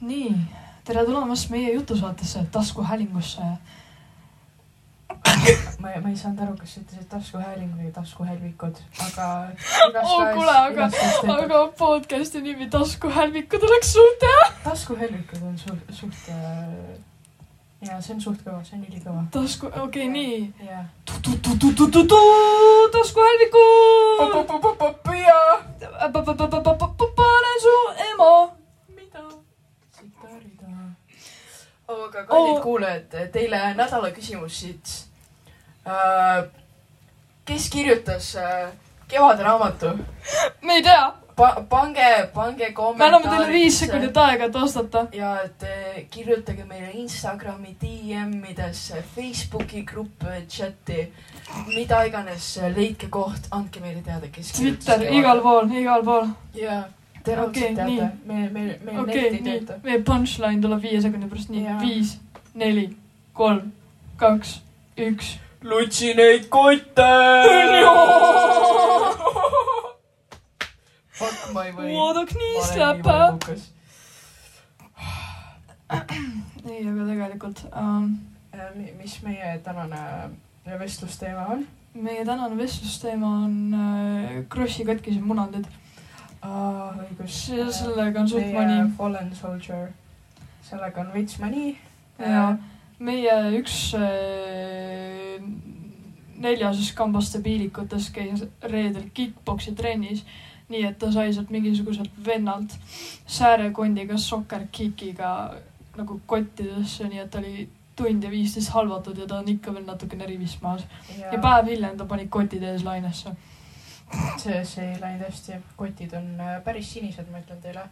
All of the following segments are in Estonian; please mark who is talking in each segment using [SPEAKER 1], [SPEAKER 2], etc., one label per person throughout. [SPEAKER 1] nii , tere tulemast meie jutusaatesse Taskuhäälingusse .
[SPEAKER 2] ma ei , ma ei saanud aru , kas sa ütlesid taskuhääling või taskuhälvikud , aga Oh,
[SPEAKER 1] oo kuule , aga , aga podcast'i nimi Taskuhälvikud oleks suht hea .
[SPEAKER 2] taskuhälvikud on suht , suht äh, jaa , see on suht kõva , see on ülikõva .
[SPEAKER 1] tasku , okei okay, , nii .
[SPEAKER 2] jaa .
[SPEAKER 1] taskuhälvikud . panen su ema .
[SPEAKER 2] mida ? sitaari taha . Oh, aga
[SPEAKER 1] kallid
[SPEAKER 2] kallid kuulajad , teile nädala küsimus siit . kes kirjutas Kevadraamatu ?
[SPEAKER 1] me ei tea ,
[SPEAKER 2] pa- , pange , pange
[SPEAKER 1] me
[SPEAKER 2] kommentaare .
[SPEAKER 1] anname teile viis sekundit . aega , et vastata .
[SPEAKER 2] ja et eh, kirjutage meile Instagrami DM-idesse , Facebooki gruppe , chati , mida iganes , leidke koht , andke meile teada , kes .
[SPEAKER 1] Twitter , igal . pool , igal pool .
[SPEAKER 2] jaa , te
[SPEAKER 1] Okei,
[SPEAKER 2] raudselt
[SPEAKER 1] nii.
[SPEAKER 2] teate , me , me , me
[SPEAKER 1] okei ,
[SPEAKER 2] okay,
[SPEAKER 1] nii
[SPEAKER 2] need ,
[SPEAKER 1] meie punchline tuleb viie sekundi pärast , nii
[SPEAKER 2] Jaa. ,
[SPEAKER 1] viis , neli , kolm , kaks , üks .
[SPEAKER 2] lutsi neid kotte . Fuck , ma ei või .
[SPEAKER 1] vaadake nii säpe . ei , aga tegelikult um,
[SPEAKER 2] Äh, mis meie tänane äh, vestlusteema on ?
[SPEAKER 1] meie tänane vestlusteema on äh, Krossi katkised munandid .
[SPEAKER 2] aa , õigus .
[SPEAKER 1] sellega Ah, on suht
[SPEAKER 2] meie
[SPEAKER 1] mani .
[SPEAKER 2] Fallen Soldier , sellega on veits mani .
[SPEAKER 1] ja meie üks äh, neljasest kambaste piilikutest käis reedel kick-poksi trennis , nii et ta sai sealt mingisuguselt vennalt säärekondiga sokkerkikiga nagu kottidesse , nii et ta oli tund ja viisteist halvatud ja ta on ikka veel natukene rivis maas . ja
[SPEAKER 2] ja
[SPEAKER 1] päev hiljem ta pani kotid ees lainesse .
[SPEAKER 2] see , see ei läinud hästi , kotid on äh, päris sinised , ma ütlen teile .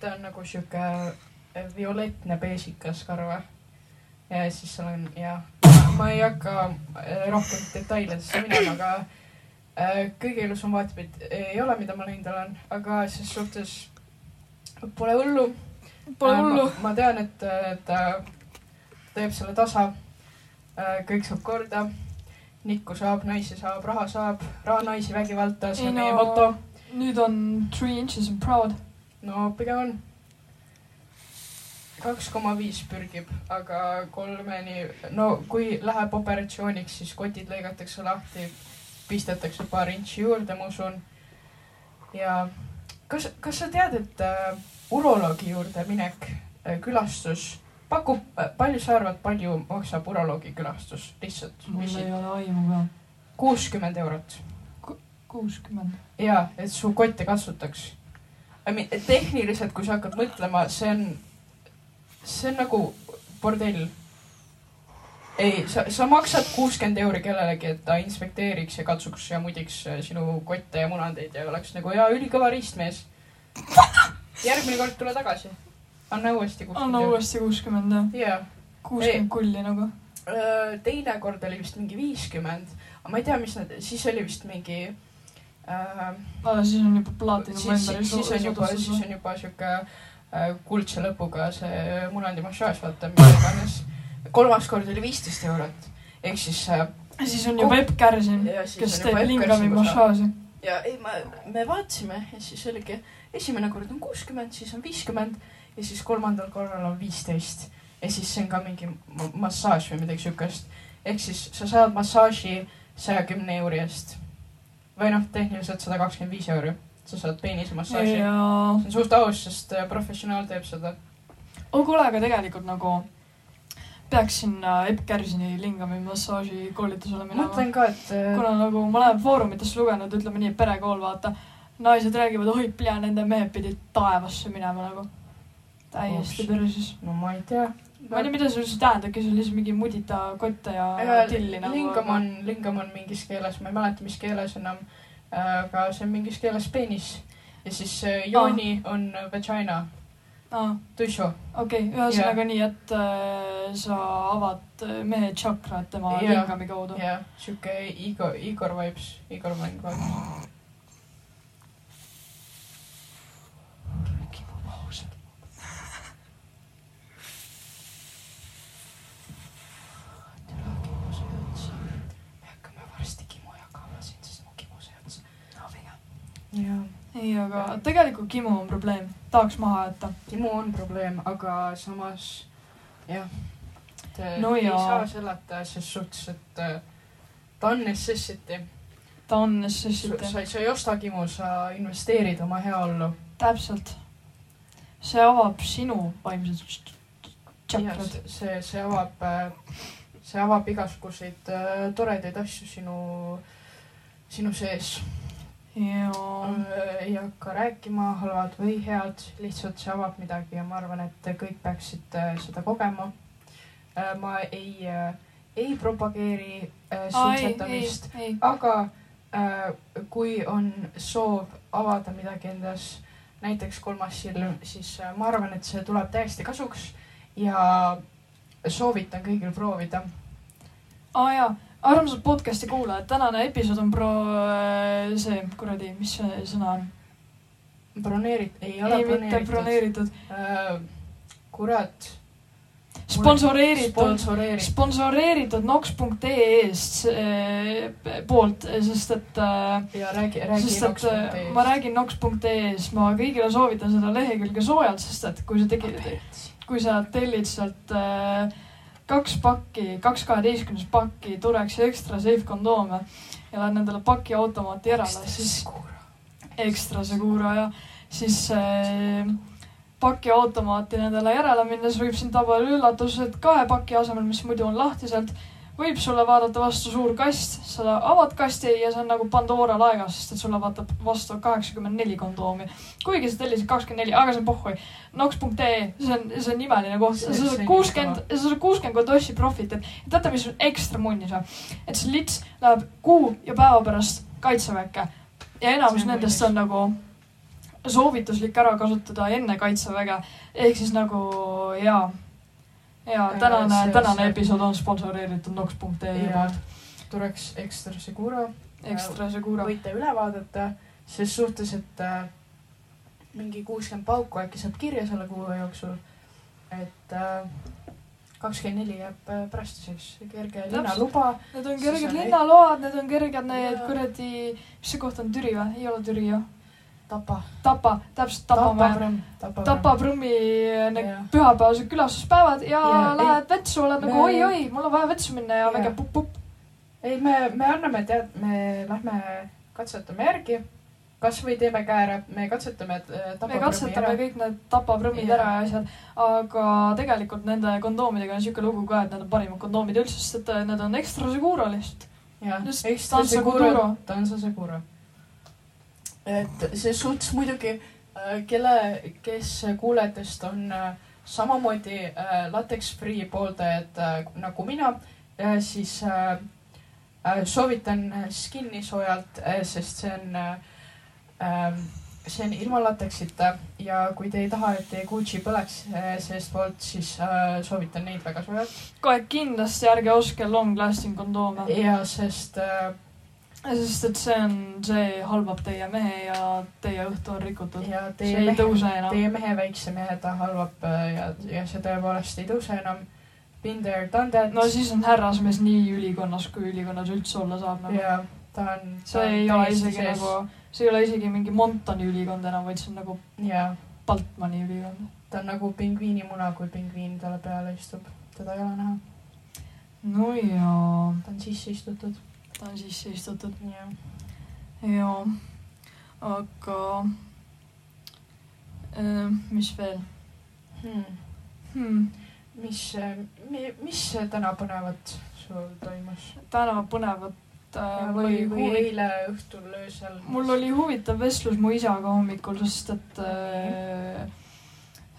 [SPEAKER 2] ta on nagu sihuke violettne peesikas karva . ja siis seal on ja , ma ei hakka äh, rohkem detailidesse minema , aga äh, kõige ilusam vaatepilt ei ole , mida ma näinud olen , aga ses suhtes pole hullu
[SPEAKER 1] Pole
[SPEAKER 2] Äh,
[SPEAKER 1] hullu .
[SPEAKER 2] ma, ma tean , et äh, ta teeb selle tasa . kõik saab korda . nikku saab , naisi saab , raha saab , raha , naisi , vägivalda , see on
[SPEAKER 1] Ei
[SPEAKER 2] meie
[SPEAKER 1] no-
[SPEAKER 2] moto .
[SPEAKER 1] nüüd on Three Inches and Proud .
[SPEAKER 2] no pigem on . kaks koma viis pürgib , aga kolmeni , no kui läheb operatsiooniks , siis kotid lõigatakse lahti , pistetakse paar intsi juurde , ma usun . ja kas , kas sa tead , et äh, uroloogi juurde minek äh, , külastus pakub äh, , palju sa arvad , palju maksab uroloogi külastus lihtsalt ?
[SPEAKER 1] mul ei ole aimu ka .
[SPEAKER 2] kuuskümmend eurot
[SPEAKER 1] kuuskümmend .
[SPEAKER 2] jaa , et su kotte kasutaks . tehniliselt , kui sa hakkad mõtlema , see on , see on nagu bordell . ei , sa , sa maksad kuuskümmend euri kellelegi , et ta inspekteeriks ja katsuks ja mudiks äh, sinu kotte ja munandeid ja oleks nagu jaa , ülikõva riistmees . järgmine kord tule tagasi . anna uuesti
[SPEAKER 1] anna
[SPEAKER 2] kuuskümmend euri .
[SPEAKER 1] uuesti kuuskümmend jah ,
[SPEAKER 2] jaa ,
[SPEAKER 1] kuuskümmend kulli nagu .
[SPEAKER 2] teine kord oli vist mingi viiskümmend , aga ma ei tea , mis nad , siis oli vist mingi äh,
[SPEAKER 1] aga Ah, siis on juba plaatinum
[SPEAKER 2] siis ,
[SPEAKER 1] endal .
[SPEAKER 2] siis siis on juba , siis on juba sihuke äh, kuldse lõpuga see munandi massaaž , vaata , mis iganes . kolmas kord oli viisteist eurot , ehk siis äh,
[SPEAKER 1] siis on juba Epp Kärsin ,
[SPEAKER 2] ja siis
[SPEAKER 1] Mm. kes
[SPEAKER 2] on
[SPEAKER 1] teeb
[SPEAKER 2] juba
[SPEAKER 1] lingami
[SPEAKER 2] Eppersi massaaž .
[SPEAKER 1] massaaži .
[SPEAKER 2] ja ei , ma , me vaatasime ja siis oligi , esimene kord on kuuskümmend , siis on viiskümmend ja siis kolmandal korral on viisteist . ja siis see on ka mingi ma- massaaž või midagi siukest . ehk siis sa saad massaaži saja kümne euri eest . või noh , tehniliselt sada kakskümmend viis euri , sa saad peenise massaaži .
[SPEAKER 1] ja ,
[SPEAKER 2] see on suht aus , sest äh, professionaal teeb seda .
[SPEAKER 1] oh kuule , aga tegelikult nagu peaks sinna Epp Kärsini lingami massaaži koolitusele
[SPEAKER 2] ma
[SPEAKER 1] minema .
[SPEAKER 2] mõtlen ka , et äh,
[SPEAKER 1] kuna nagu ma olen foorumitest lugenud , ütleme nii , perekool , vaata , naised räägivad , oi , pea , nende mehed pidid taevasse minema nagu . täiesti
[SPEAKER 2] Ups.
[SPEAKER 1] perses .
[SPEAKER 2] no ma ei tea .
[SPEAKER 1] ma ei tea , mida see üldse tähendab , kes on lihtsalt mingi mudita kotte ja tilli nagu .
[SPEAKER 2] lingam on , lingam on mingis keeles , ma ei mäleta , mis keeles enam , aga see on mingis keeles peenis ja siis äh, jooni on vagina ,
[SPEAKER 1] aa ,
[SPEAKER 2] tušu .
[SPEAKER 1] okei , ühesõnaga nii , et äh, sa avad äh, mehe tšakrad tema
[SPEAKER 2] Jaa.
[SPEAKER 1] lingami kaudu .
[SPEAKER 2] ja sihuke Igor , Igor vibes , Igor mäng vibes . ja ,
[SPEAKER 1] nii , aga tegelikult Kimu on probleem , tahaks maha jätta .
[SPEAKER 2] Timu on probleem , aga samas jah , et äh,
[SPEAKER 1] No
[SPEAKER 2] ei
[SPEAKER 1] jaa.
[SPEAKER 2] saa selata ses suhtes , et äh, ta on necessity .
[SPEAKER 1] ta on
[SPEAKER 2] sa
[SPEAKER 1] necessity ,
[SPEAKER 2] sa ei osta Kimu , sa investeerid oma heaollu .
[SPEAKER 1] täpselt . see avab sinu vaimsed tšakrad .
[SPEAKER 2] see , see avab , see avab igasuguseid äh, toredaid asju sinu , sinu sees .
[SPEAKER 1] ja
[SPEAKER 2] ei hakka rääkima halvad või head , lihtsalt see avab midagi ja ma arvan , et kõik peaksid äh, seda kogema . ma ei , ei propageeri äh,
[SPEAKER 1] Aa, ei , ei
[SPEAKER 2] suitsetamist ,,
[SPEAKER 1] ei ,
[SPEAKER 2] aga äh, kui on soov avada midagi endas , näiteks kolmas
[SPEAKER 1] Mm.
[SPEAKER 2] silm , siis äh, ma arvan , et see tuleb täiesti kasuks ja soovitan kõigil proovida .
[SPEAKER 1] aa jaa , armsad podcast'i kuulajad , tänane episood on pro- , see kuradi , mis see sõna on ?
[SPEAKER 2] broneerit- , ei ole
[SPEAKER 1] ei , mitte
[SPEAKER 2] broneeritud .
[SPEAKER 1] broneeritud ,
[SPEAKER 2] kurat .
[SPEAKER 1] sponsoreeritud ,
[SPEAKER 2] sponsoreeritud .
[SPEAKER 1] sponsoreeritud Nox.ee-st äh, poolt , sest et äh,
[SPEAKER 2] ja räägi , räägi
[SPEAKER 1] sest et äh, ma räägin nox.ee-s , ma kõigile soovitan seda lehekülge soojalt , sest et kui sa tegid , kui sa tellid sealt äh, kaks pakki , kaks kaheteistkümnes pakki Turex ekstra safe kondoome ja lähed nendele pakiautomaati ära , siis ekstra segura ja siis äh, pakiautomaati nendele järele minnes võib sind tabada üllatus , et kahe paki asemel , mis muidu on lahtiselt , võib sulle vaadata vastu suur kast , sa avad kasti ja see on nagu Pandora laegas , sest et sulle vaatab vastu kaheksakümmend neli kondoomi . kuigi sa tellisid kakskümmend neli , aga see on pohhui . Nox.ee , see on , see on imeline koht ,
[SPEAKER 2] See-
[SPEAKER 1] sa
[SPEAKER 2] see
[SPEAKER 1] saad
[SPEAKER 2] on
[SPEAKER 1] kuuskümmend , sa saad kuuskümmend kontossi profit'it . teate , mis on ekstra munnis või ? et see lits läheb kuu ja päeva pärast kaitseväkke ja enamus
[SPEAKER 2] See on
[SPEAKER 1] nendest
[SPEAKER 2] munnis.
[SPEAKER 1] on nagu soovituslik ära kasutada enne kaitseväge , ehk siis nagu jaa , jaa ,
[SPEAKER 2] Aga
[SPEAKER 1] tänane
[SPEAKER 2] see- ,
[SPEAKER 1] tänane
[SPEAKER 2] see-
[SPEAKER 1] episood on sponsoreeritud Nox.ee
[SPEAKER 2] Jaa.
[SPEAKER 1] poolt ,
[SPEAKER 2] tuleks ekstra segura ,
[SPEAKER 1] ekstra segura .
[SPEAKER 2] võite üle vaadata , ses suhtes , et äh, mingi kuuskümmend pauku äkki saab kirja selle kuu jooksul . et äh, kakskümmend neli jääb äh, pärast siis kerge
[SPEAKER 1] Täpselt.
[SPEAKER 2] linnaluba ,
[SPEAKER 1] Need on
[SPEAKER 2] Siis
[SPEAKER 1] kerged
[SPEAKER 2] on-
[SPEAKER 1] linnaload , need on kerged need
[SPEAKER 2] Jaa.
[SPEAKER 1] kuradi , mis see koht on , Türi või ? ei ole Türi jah ?
[SPEAKER 2] Tapa .
[SPEAKER 1] Tapa , täpselt Tapa maja .
[SPEAKER 2] Tapa .
[SPEAKER 1] Tapa Prõmmi need
[SPEAKER 2] Jaa.
[SPEAKER 1] pühapäevased külastuspäevad ja, ja
[SPEAKER 2] Jaa, ei-
[SPEAKER 1] lähed vetsu , oled nagu
[SPEAKER 2] me-
[SPEAKER 1] oi-oi , mul on vaja vetsu minna ja
[SPEAKER 2] Jaa.
[SPEAKER 1] väike pupp-pupp .
[SPEAKER 2] ei , me , me anname tead , me lähme katsetame järgi , kasvõi teeme käe , me katsetame . äh,
[SPEAKER 1] me katsetame kõik need tapaprõmmid
[SPEAKER 2] Jaa.
[SPEAKER 1] ära ja asjad , aga tegelikult nende kondoomidega on siuke lugu ka , et need on parimad kondoomid üldse , sest et äh, need on ekstra segura lihtsalt .
[SPEAKER 2] jah ,
[SPEAKER 1] Just
[SPEAKER 2] eks ta on
[SPEAKER 1] Tanza Kuduro.
[SPEAKER 2] segura , ta on see segura . et see suts muidugi , kelle , kes kuulajatest on äh, samamoodi äh, lateks free pooldajad äh, nagu mina , siis äh, äh, soovitan skin'i soojalt , sest see on äh, äh, see on ilma lateksita ja kui te ei taha , et teie Gucci põleks äh, seestpoolt , siis äh, soovitan neid väga soojalt .
[SPEAKER 1] kohe kindlasti ärge ostke long lasting kondoome ,
[SPEAKER 2] ja sest äh,
[SPEAKER 1] sest et see on , see halvab teie mehe ja teie õhtu on rikutud .
[SPEAKER 2] ja
[SPEAKER 1] see
[SPEAKER 2] teie
[SPEAKER 1] ei tõuse enam .
[SPEAKER 2] Teie mehe väiksem ja ta halvab äh, ja , ja see tõepoolest ei tõuse enam . Been there , done that
[SPEAKER 1] no siis on härrasmees nii ülikonnas , kui ülikonnas üldse olla saab nagu .
[SPEAKER 2] ja ta on .
[SPEAKER 1] see ei ole isegi nagu , see ei ole isegi mingi Montani ülikond enam , vaid see on nagu
[SPEAKER 2] ja
[SPEAKER 1] Baltmani ülikond .
[SPEAKER 2] ta on nagu pingviinimuna , kui pingviin talle peale istub , teda ei ole näha ,
[SPEAKER 1] no jaa ,
[SPEAKER 2] ta on sisse istutud .
[SPEAKER 1] ta on sisse istutud .
[SPEAKER 2] jah ,
[SPEAKER 1] jaa , aga äh, mis veel hmm. ?
[SPEAKER 2] mis , mis täna põnevat sul toimus ?
[SPEAKER 1] täna põnevat äh,
[SPEAKER 2] või ,
[SPEAKER 1] oli
[SPEAKER 2] või
[SPEAKER 1] huvi- ,
[SPEAKER 2] eile õhtul öösel ?
[SPEAKER 1] mul oli huvitav vestlus mu isaga hommikul , sest et äh,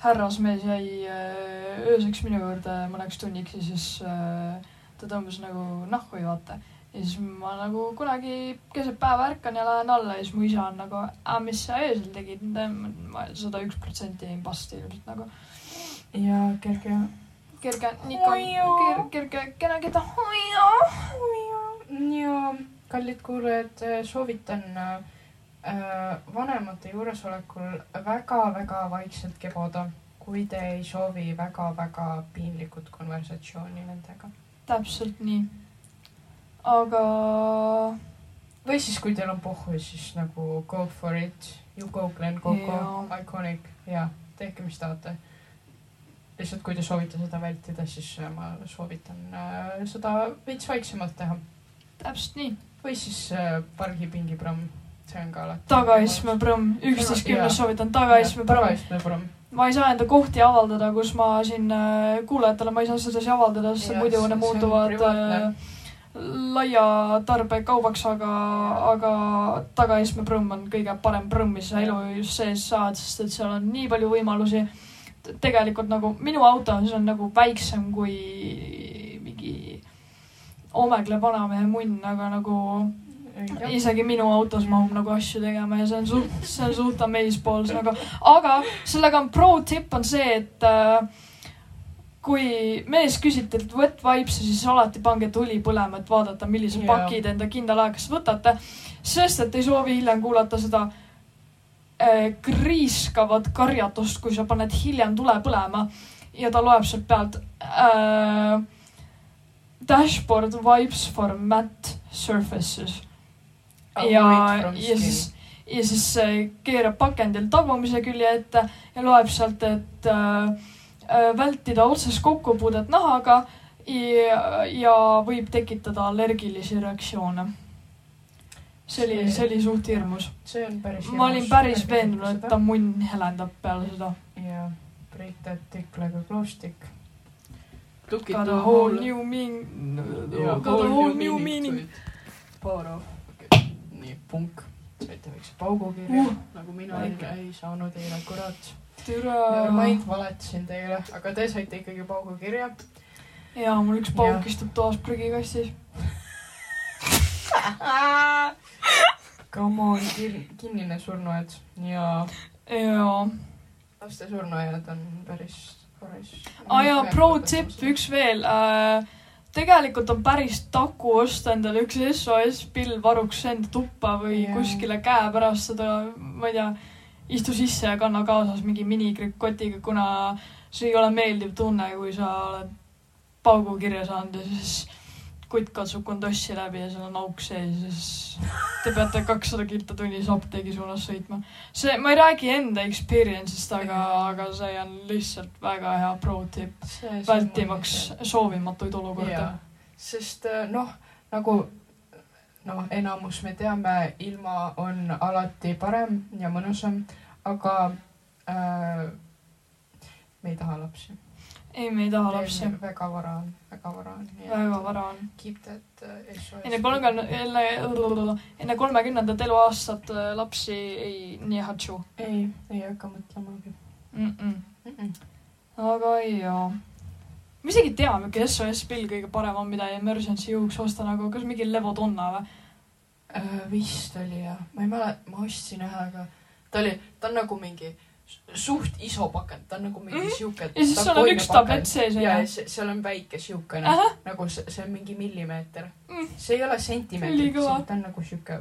[SPEAKER 1] härrasmees jäi äh, ööseks minu juurde mõneks tunniks ja siis äh, ta tõmbas nagu nahku ja vaata . ja siis ma nagu kunagi keset päeva ärkan ja lähen alla ja siis mu isa on nagu , mis sa öösel tegid ? ma sada üks protsenti jäin pasti ilmselt nagu .
[SPEAKER 2] ja kerge .
[SPEAKER 1] kerge , Nikon
[SPEAKER 2] Hoiu. ,
[SPEAKER 1] kerge , kerge , kena keda hoia .
[SPEAKER 2] ja kallid kuulajad , soovitan äh, vanemate juuresolekul väga-väga vaikselt keboda , kui te ei soovi väga-väga piinlikut konversatsiooni nendega .
[SPEAKER 1] täpselt nii . aga
[SPEAKER 2] või siis , kui teil on pohhu , siis nagu go for it . Juko Glen Coco
[SPEAKER 1] Jaa.
[SPEAKER 2] Iconic ja tehke , mis tahate . lihtsalt , kui te soovite seda vältida , siis äh, ma soovitan äh, seda veits vaiksemalt teha
[SPEAKER 1] täpselt nii .
[SPEAKER 2] või siis äh, pargipingi pramm , see on ka alati .
[SPEAKER 1] tagaistme . pramm , üksteist
[SPEAKER 2] Jaa.
[SPEAKER 1] kümnest soovitan tagaistme pramm .
[SPEAKER 2] tagaistme pramm .
[SPEAKER 1] ma ei saa enda kohti avaldada , kus ma siin äh, kuulajatele , ma ei saa seda asja avaldada , sest
[SPEAKER 2] Jaa,
[SPEAKER 1] muidu
[SPEAKER 2] see-
[SPEAKER 1] need
[SPEAKER 2] see on
[SPEAKER 1] muutuvad
[SPEAKER 2] privaatne.
[SPEAKER 1] äh, laia tarbekaubaks , aga , aga tagaistme prõmm on kõige parem prõmm , mis sa
[SPEAKER 2] Jah.
[SPEAKER 1] elu sees saad , sest et seal on nii palju võimalusi . tegelikult nagu minu auto , see on nagu väiksem kui mingi omegle vanamehe munn , aga nagu isegi minu autos mahub nagu asju tegema ja see on suht , see on suht amazeballs nagu , aga sellega on pro tipp on see , et äh, kui mees küsib teilt võt vaipse , siis alati pange tuli põlema , et vaadata , millise
[SPEAKER 2] Jaa.
[SPEAKER 1] yeah. paki te enda kindlal ajaks võtate , sest et ei soovi hiljem kuulata seda äh, kriiskavat karjatust , kui sa paned hiljem tule põlema ja ta loeb sealt pealt äh, . Dashboard wipes for matte surfaces ja , ja siis , ja siis äh, keerab pakendil tagumise külje ette ja loeb sealt , et äh, äh, vältida otsest kokkupuudet nahaga ja, ja võib tekitada allergilisi reaktsioone . see oli , see oli suht hirmus .
[SPEAKER 2] see on päris .
[SPEAKER 1] ma olin päris veendunud , et ta . munn helendab peale seda .
[SPEAKER 2] ja Priit Ätik , Lego Kloostik .
[SPEAKER 1] Got a whole new mean- , got a whole new meaning .
[SPEAKER 2] Power off . nii , punk . saite väikse paugukirja
[SPEAKER 1] Uh,
[SPEAKER 2] uh, , nagu mina ei,
[SPEAKER 1] väike.
[SPEAKER 2] ei saanud eile , kurat .
[SPEAKER 1] türa .
[SPEAKER 2] Nevermind , valetasin teile , aga te saite ikkagi paugukirja .
[SPEAKER 1] ja mul üks
[SPEAKER 2] Jah.
[SPEAKER 1] pauk istub toas prügikastis .
[SPEAKER 2] Come on , kinnine surnuaed ja
[SPEAKER 1] jaa
[SPEAKER 2] laste surnuaiad on päris , päris .
[SPEAKER 1] aa jaa , pro tipp , üks veel äh, . tegelikult on päris taku osta endale üks SOS pill varuks enda tuppa või
[SPEAKER 2] Jaa.
[SPEAKER 1] yeah. kuskile käe pärast seda , ma ei tea , istu sisse ja kanna kaasas mingi minikrikotiga , kuna see ei ole meeldiv tunne , kui sa oled paugu kirja saanud ja siis kutt katsub kondossi läbi ja seal on auk sees ja siis te peate kakssada kilta tunnis apteegi suunas sõitma . see , ma ei räägi enda experience'ist , aga , aga see on lihtsalt väga hea pro tipp vältimaks soovimatuid olukordi .
[SPEAKER 2] Jaa. sest äh, noh , nagu noh , enamus me teame , ilma on alati parem ja mõnusam , aga äh, me ei taha lapsi .
[SPEAKER 1] ei , me ei taha lapsi .
[SPEAKER 2] väga vara on , väga vara on .
[SPEAKER 1] väga vara on .
[SPEAKER 2] keep that uh, SOS .
[SPEAKER 1] enne palgal , enne , enne kolmekümnendat eluaastat äh, lapsi ei , nii hatšu
[SPEAKER 2] ei , ei hakka mõtlemagi
[SPEAKER 1] mm . -mm.
[SPEAKER 2] mm . -mm.
[SPEAKER 1] aga jaa . ma isegi ei tea , mingi SOS pill kõige parem on , mida emergency juhuks osta nagu , kas mingi Levodonna või ?
[SPEAKER 2] Äh, vist oli jah , ma ei mäleta , ma ostsin ühe , aga ta oli , ta on nagu mingi s- suht iso pakend , ta on nagu mingi
[SPEAKER 1] Mhm.
[SPEAKER 2] mm. siuke .
[SPEAKER 1] ja siis sul on üks tablett sees on
[SPEAKER 2] ja
[SPEAKER 1] ju .
[SPEAKER 2] se- seal on väike siukene
[SPEAKER 1] Ahah.
[SPEAKER 2] nagu see , see on mingi millimeeter
[SPEAKER 1] Mm.
[SPEAKER 2] mm. . see ei ole sentimeetrit ,
[SPEAKER 1] Ülikõva.
[SPEAKER 2] ta on nagu siuke ,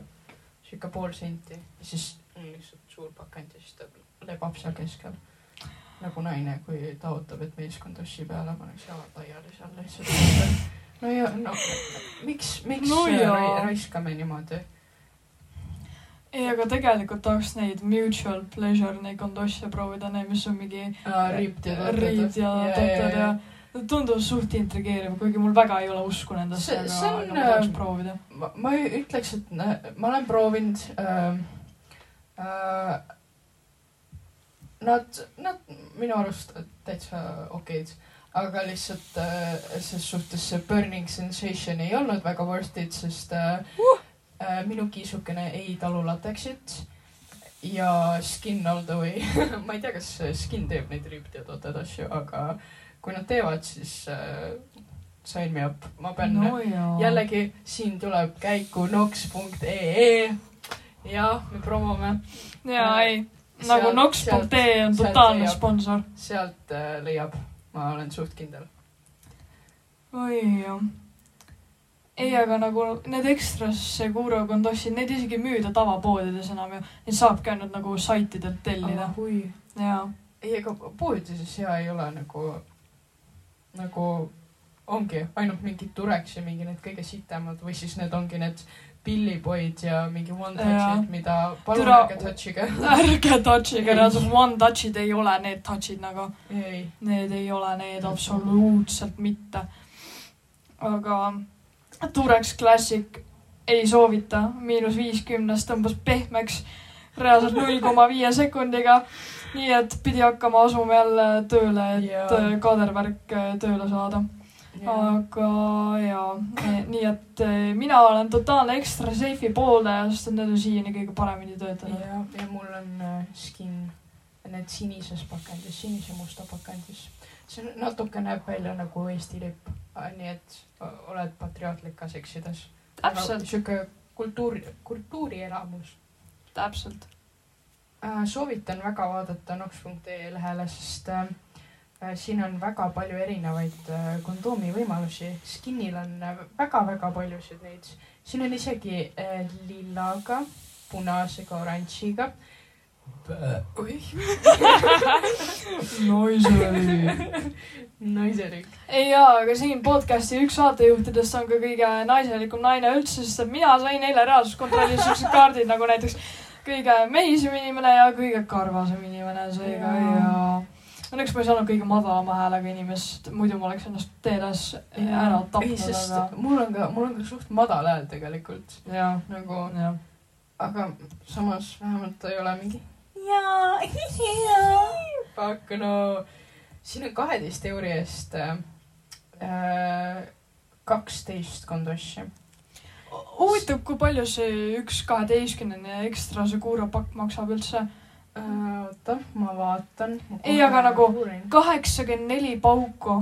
[SPEAKER 2] siuke pool senti ja siis on lihtsalt suur pakend ja siis ta lebab seal keskel . nagu naine , kui ta ootab , et meeskond ossi peale paneks jalad laiali seal lihtsalt . no ja , no miks , miks
[SPEAKER 1] No
[SPEAKER 2] no ra
[SPEAKER 1] jaa.
[SPEAKER 2] raiskame niimoodi ?
[SPEAKER 1] ei , aga tegelikult tahaks neid mutual pleasure , neid kondosse proovida , neid , mis on mingi
[SPEAKER 2] riid
[SPEAKER 1] riid ja totter ja . tundub suht intrigeeriv , kuigi mul väga ei ole usku nendesse ,
[SPEAKER 2] See-
[SPEAKER 1] aga,
[SPEAKER 2] see on,
[SPEAKER 1] aga ma tahaks
[SPEAKER 2] äh,
[SPEAKER 1] proovida .
[SPEAKER 2] ma, ma ei ütleks , et nä- ma olen proovinud äh, . Äh, nad , nad minu arust täitsa okeid , aga lihtsalt äh, ses suhtes see burning sensation ei olnud väga worth it , sest äh,
[SPEAKER 1] Uh!
[SPEAKER 2] äh, minu kiisukene ei talu lateksit ja skin all the way . ma ei tea , kas skin teeb neid riibteadoteid asju , aga kui nad teevad , siis äh, sign me up , ma pean
[SPEAKER 1] no jaa .
[SPEAKER 2] Oh. jällegi siin tuleb käiku nox.ee ja me promome ,
[SPEAKER 1] jaa , ei . nagu
[SPEAKER 2] äh, Seal-
[SPEAKER 1] Nox.ee on
[SPEAKER 2] seal
[SPEAKER 1] totaalne
[SPEAKER 2] leiab.
[SPEAKER 1] sponsor .
[SPEAKER 2] sealt äh, leiab , ma olen suht kindel .
[SPEAKER 1] oi jah . ei , aga nagu need ekstras Seguro kondossid , neid isegi ei müüda tavapoodides enam ju . Neid saabki ainult nagu saitidelt tellida . jaa .
[SPEAKER 2] ei , ega poodides hea ei ole nagu , nagu ongi ainult mingid Tureks ja mingi need kõige sitemad või siis need ongi need pillipoid ja mingi one touch'id , mida palun
[SPEAKER 1] Türa-
[SPEAKER 2] ärge touch'iga .
[SPEAKER 1] ärge touch'iga , reaalselt one touch'id ei ole need touch'id nagu ,
[SPEAKER 2] ei ,
[SPEAKER 1] need ei ole need absoluutselt mitte . aga Turex Classic ei soovita , miinus viiskümnes tõmbas pehmeks reaalselt null koma viie sekundiga . nii et pidi hakkama asuma jälle tööle , et
[SPEAKER 2] Jaa.
[SPEAKER 1] yeah. kaadervärk äh, tööle saada . aga jaa , nii et eh, mina olen totaalne ekstra seifi pooldaja , sest et need on siiani kõige paremini töötanud .
[SPEAKER 2] ja , ja mul on äh, skin , need sinises pakendis , sinise musta pakendis . see on- natuke näeb välja nagu Eesti lipp , nii et o- oled patriootlik ka seksides .
[SPEAKER 1] täpselt ,
[SPEAKER 2] sihuke kultuuri , kultuurielamus .
[SPEAKER 1] täpselt .
[SPEAKER 2] Äh, soovitan väga vaadata nox.ee lehele , sest äh, äh, siin on väga palju erinevaid äh, kondoomi võimalusi . Skinil on äh, väga-väga paljusid neid . siin on isegi äh, lillaga , punasega , oranžiga . oih ,
[SPEAKER 1] naisele .
[SPEAKER 2] naiserik .
[SPEAKER 1] ei jaa , aga siin podcast'i üks saatejuhtidest on ka kõige naiselikum naine üldse , sest et mina sain eile reaalsuskontrollis siuksed kaardid nagu näiteks kõige mehisem inimene ja kõige karvasem inimene , seega
[SPEAKER 2] Jaa.
[SPEAKER 1] ja õnneks ma ei saanud kõige madalama häälega inimest , muidu ma oleks ennast teeles ära
[SPEAKER 2] ei ,
[SPEAKER 1] tapnud ,
[SPEAKER 2] sest
[SPEAKER 1] aga
[SPEAKER 2] mul on ka , mul on ka suht madal hääl tegelikult
[SPEAKER 1] jaa ,
[SPEAKER 2] nagu ,
[SPEAKER 1] jah .
[SPEAKER 2] aga samas vähemalt ta ei ole mingi . jaa , fuck no . siin on kaheteist euri eest äh, kaksteist kondossi .
[SPEAKER 1] huvitav , kui palju see üks kaheteistkümnene ekstra see kuurapakk maksab üldse ?
[SPEAKER 2] Äh, oota , ma vaatan .
[SPEAKER 1] Ei, aga nagu- kaheksakümmend neli pauku ,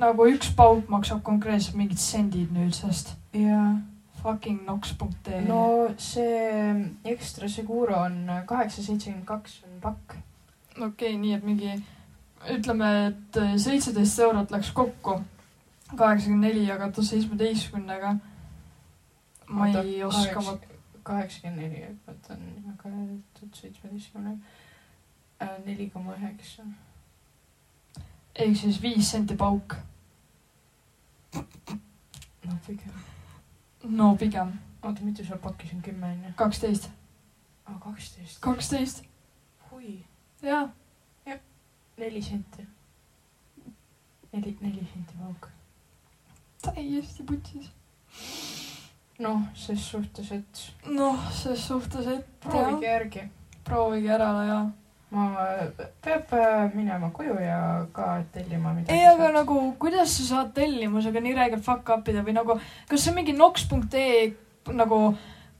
[SPEAKER 1] nagu üks pauk maksab konkreetselt mingid sendid nüüd , sest
[SPEAKER 2] jaa ,
[SPEAKER 1] fucking nox.ee
[SPEAKER 2] no see ekstra Seguro on kaheksa seitsekümmend kaks on pakk .
[SPEAKER 1] okei okay, , nii et mingi ütleme , et äh, seitseteist eurot läks kokku , kaheksakümmend neli jagatud seitsmeteistkümnega . ma
[SPEAKER 2] Oota,
[SPEAKER 1] ei oska , ma
[SPEAKER 2] kaheksakümmend neli , vot on jagatud seitsmeteistkümne , neli koma üheksa .
[SPEAKER 1] ehk siis viis senti pauk .
[SPEAKER 2] no pigem .
[SPEAKER 1] no pigem
[SPEAKER 2] oota , mitu seal pakis on , kümme on ju ?
[SPEAKER 1] kaksteist ,
[SPEAKER 2] aa , kaksteist .
[SPEAKER 1] kaksteist ,
[SPEAKER 2] oi ,
[SPEAKER 1] jaa .
[SPEAKER 2] neli senti . neli , neli senti pauk .
[SPEAKER 1] täiesti putsis .
[SPEAKER 2] noh , ses suhtes , et
[SPEAKER 1] noh , ses suhtes , et jah
[SPEAKER 2] proovige järgi .
[SPEAKER 1] proovige ära ja .
[SPEAKER 2] ma , peab äh, minema koju ja ka tellima midagi .
[SPEAKER 1] ei , aga . nagu , kuidas sa saad tellimusega nii räigelt fuck up ida või nagu , kas see mingi nox.ee nagu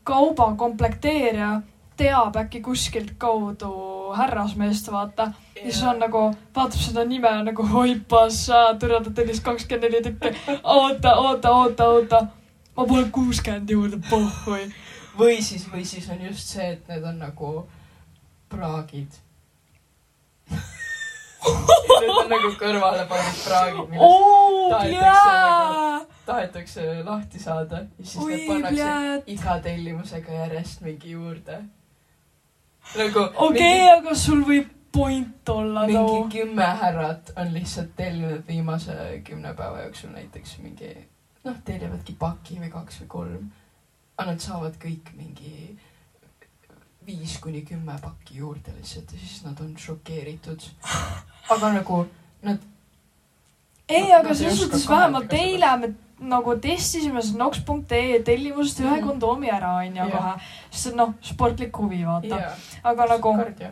[SPEAKER 1] kauba komplekteerija teab äkki kuskilt kaudu härrasmeest , vaata , siis on . nagu , vaatab seda nime nagu oi passa , türa ta tellis kakskümmend neli tükki , oota , oota , oota , oota , ma panen kuuskümmend juurde , pohhui .
[SPEAKER 2] või siis , või siis on just see , et need on nagu praagid . Need on nagu kõrvale pandud praagid , millest
[SPEAKER 1] oo , Oh,
[SPEAKER 2] tahetakse oh
[SPEAKER 1] jaa ,
[SPEAKER 2] tahetakse lahti saada ja siis
[SPEAKER 1] oi
[SPEAKER 2] need pannakse
[SPEAKER 1] jaa
[SPEAKER 2] iga tellimusega järjest mingi juurde . nagu
[SPEAKER 1] okei , aga sul võib point olla nagu.
[SPEAKER 2] mingi,
[SPEAKER 1] too
[SPEAKER 2] mingi . kümme härrat on lihtsalt tellinud viimase kümne päeva jooksul näiteks mingi noh , tellivadki paki või kaks või kolm , aga nad saavad kõik mingi viis kuni kümme pakki juurde lihtsalt ja siis nad on šokeeritud . aga nagu
[SPEAKER 1] ei ,
[SPEAKER 2] Nad-
[SPEAKER 1] aga
[SPEAKER 2] nad ei
[SPEAKER 1] selles
[SPEAKER 2] oska
[SPEAKER 1] suhtes vähemalt
[SPEAKER 2] kannatada
[SPEAKER 1] eile me nagu testisime seda Nox.ee tellimusest ühe
[SPEAKER 2] Mhm.
[SPEAKER 1] kondoomi ära , onju
[SPEAKER 2] Jah.
[SPEAKER 1] kohe . sest et noh , sportlik huvi , vaata .
[SPEAKER 2] yeah,
[SPEAKER 1] aga nagu ,
[SPEAKER 2] kardio .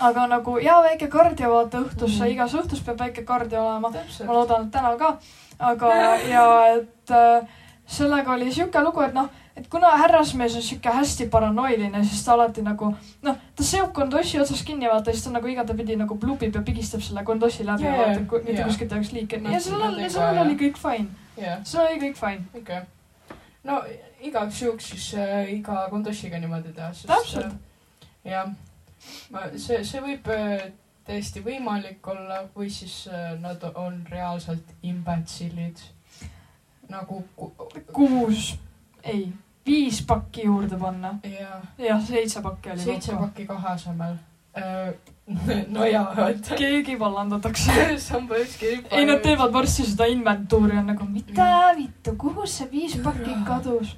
[SPEAKER 1] aga nagu jaa , väike kardio , vaata õhtus mm ,
[SPEAKER 2] Mhm.
[SPEAKER 1] -hmm. igas õhtus peab väike kardio olema . ma
[SPEAKER 2] täpselt .
[SPEAKER 1] loodan , et täna ka . aga , ja et äh, sellega oli sihuke lugu , et noh , et kuna härrasmees on sihuke hästi paranoiline , siis ta alati nagu noh , ta seob kondossi otsast kinni , vaata , siis ta nagu igatepidi nagu blubib ja pigistab selle kondossi läbi
[SPEAKER 2] Jaa,
[SPEAKER 1] yeah, , vaata , kui mitte
[SPEAKER 2] jaa.
[SPEAKER 1] yeah. kuskilt ei oleks liike .
[SPEAKER 2] Nad-
[SPEAKER 1] ja sellel
[SPEAKER 2] nad ei
[SPEAKER 1] oli , sellel
[SPEAKER 2] saa,
[SPEAKER 1] oli kõik fine ,
[SPEAKER 2] jah ,
[SPEAKER 1] sellel oli kõik fine .
[SPEAKER 2] ikka . no igaks juhuks siis äh, iga kondossiga niimoodi teha , sest .
[SPEAKER 1] Täpselt. .
[SPEAKER 2] jah , ma , see , see võib äh, täiesti võimalik olla või siis äh, nad on reaalselt imbetsillid . nagu ku-
[SPEAKER 1] kuus , ei , viis pakki juurde panna .
[SPEAKER 2] ja
[SPEAKER 1] jah , seitse pakki oli
[SPEAKER 2] seitse . pakki kahe asemel äh, . no jaa , et
[SPEAKER 1] keegi vallandatakse .
[SPEAKER 2] samba ükski hüppa .
[SPEAKER 1] ei , nad teevad varsti seda inventuuri , on nagu mida vittu , kuhu see viis pakki
[SPEAKER 2] Jaa.
[SPEAKER 1] kadus ?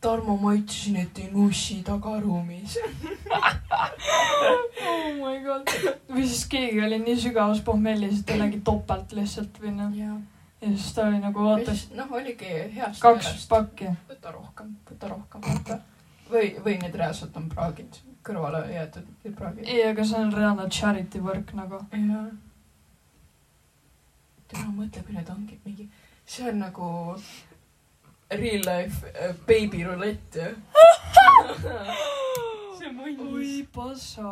[SPEAKER 2] Tarmo , ma ütlesin , et ei nussi tagaruumis .
[SPEAKER 1] oh my god . või siis keegi oli nii sügavas pohmellis , et jällegi topelt lihtsalt või noh ,
[SPEAKER 2] jah .
[SPEAKER 1] ja siis ta oli nagu vaatas
[SPEAKER 2] noh , oligi heast
[SPEAKER 1] kaks . pakki .
[SPEAKER 2] võta rohkem , võta rohkem , võta . või , või need reaalselt on praagid , kõrvale jäetud praagid .
[SPEAKER 1] ei , aga see on reaalne charity work nagu .
[SPEAKER 2] jah . täna mõtle , kui need ongi mingi , see on nagu real life äh, baby roulette ju . see on mõnus .
[SPEAKER 1] oi pasa .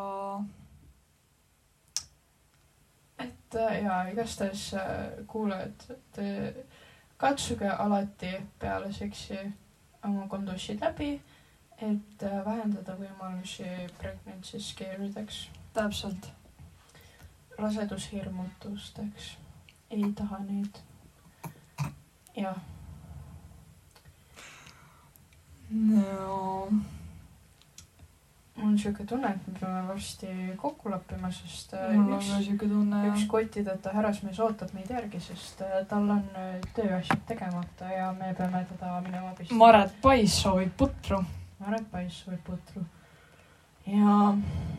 [SPEAKER 2] et äh, ja igastahes äh, kuulajad , et äh, katsuge alati peale seksi oma kondussid läbi , et äh, vähendada võimalusi pregnancy scare ideks ,
[SPEAKER 1] täpselt .
[SPEAKER 2] rasedushirmutusteks . ei taha neid . jah ,
[SPEAKER 1] no
[SPEAKER 2] mul on siuke tunne , et me peame varsti kokku lappima , sest äh,
[SPEAKER 1] mul on
[SPEAKER 2] üks
[SPEAKER 1] ka siuke tunne
[SPEAKER 2] üks . kottideta härrasmees ootab meid järgi , sest äh, tal on äh, tööasjad tegemata ja me peame teda minema abistama .
[SPEAKER 1] Maret Pais soovib putru .
[SPEAKER 2] Maret Paiss või putru . ja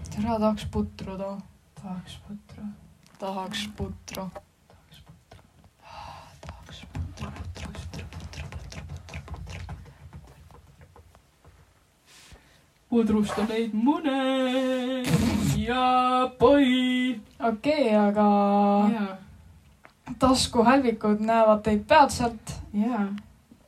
[SPEAKER 1] tere , tahaks putru ta .
[SPEAKER 2] tahaks putru ,
[SPEAKER 1] tahaks putru .
[SPEAKER 2] tahaks putru .
[SPEAKER 1] tahaks putru , putru , putru , putru , putru , putru , putru .
[SPEAKER 2] pudrusta neid mune ja poi .
[SPEAKER 1] okei okay, , aga
[SPEAKER 2] ja ,
[SPEAKER 1] taskuhälvikud näevad teid peatselt ,
[SPEAKER 2] ja ,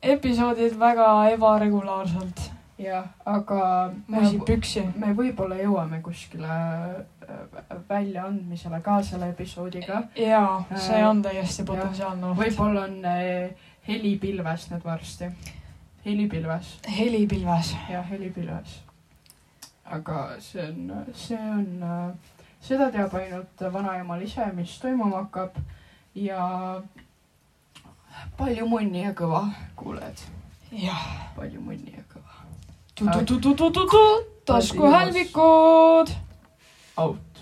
[SPEAKER 1] episoodid väga ebaregulaarselt .
[SPEAKER 2] ja , aga
[SPEAKER 1] ma
[SPEAKER 2] me,
[SPEAKER 1] ei saa püksi .
[SPEAKER 2] me võib-olla jõuame kuskile äh, väljaandmisele ka selle episoodiga .
[SPEAKER 1] jaa , see on täiesti potentsiaalne oht .
[SPEAKER 2] võib-olla on äh, helipilves need varsti . helipilves ,
[SPEAKER 1] helipilves .
[SPEAKER 2] jah , helipilves . aga see on , see on , seda teab ainult vanaemal ise , mis toimuma hakkab ja palju munni ja kõva , kuuled ,
[SPEAKER 1] jah .
[SPEAKER 2] palju munni ja kõva .
[SPEAKER 1] taskuhälvikud .
[SPEAKER 2] out .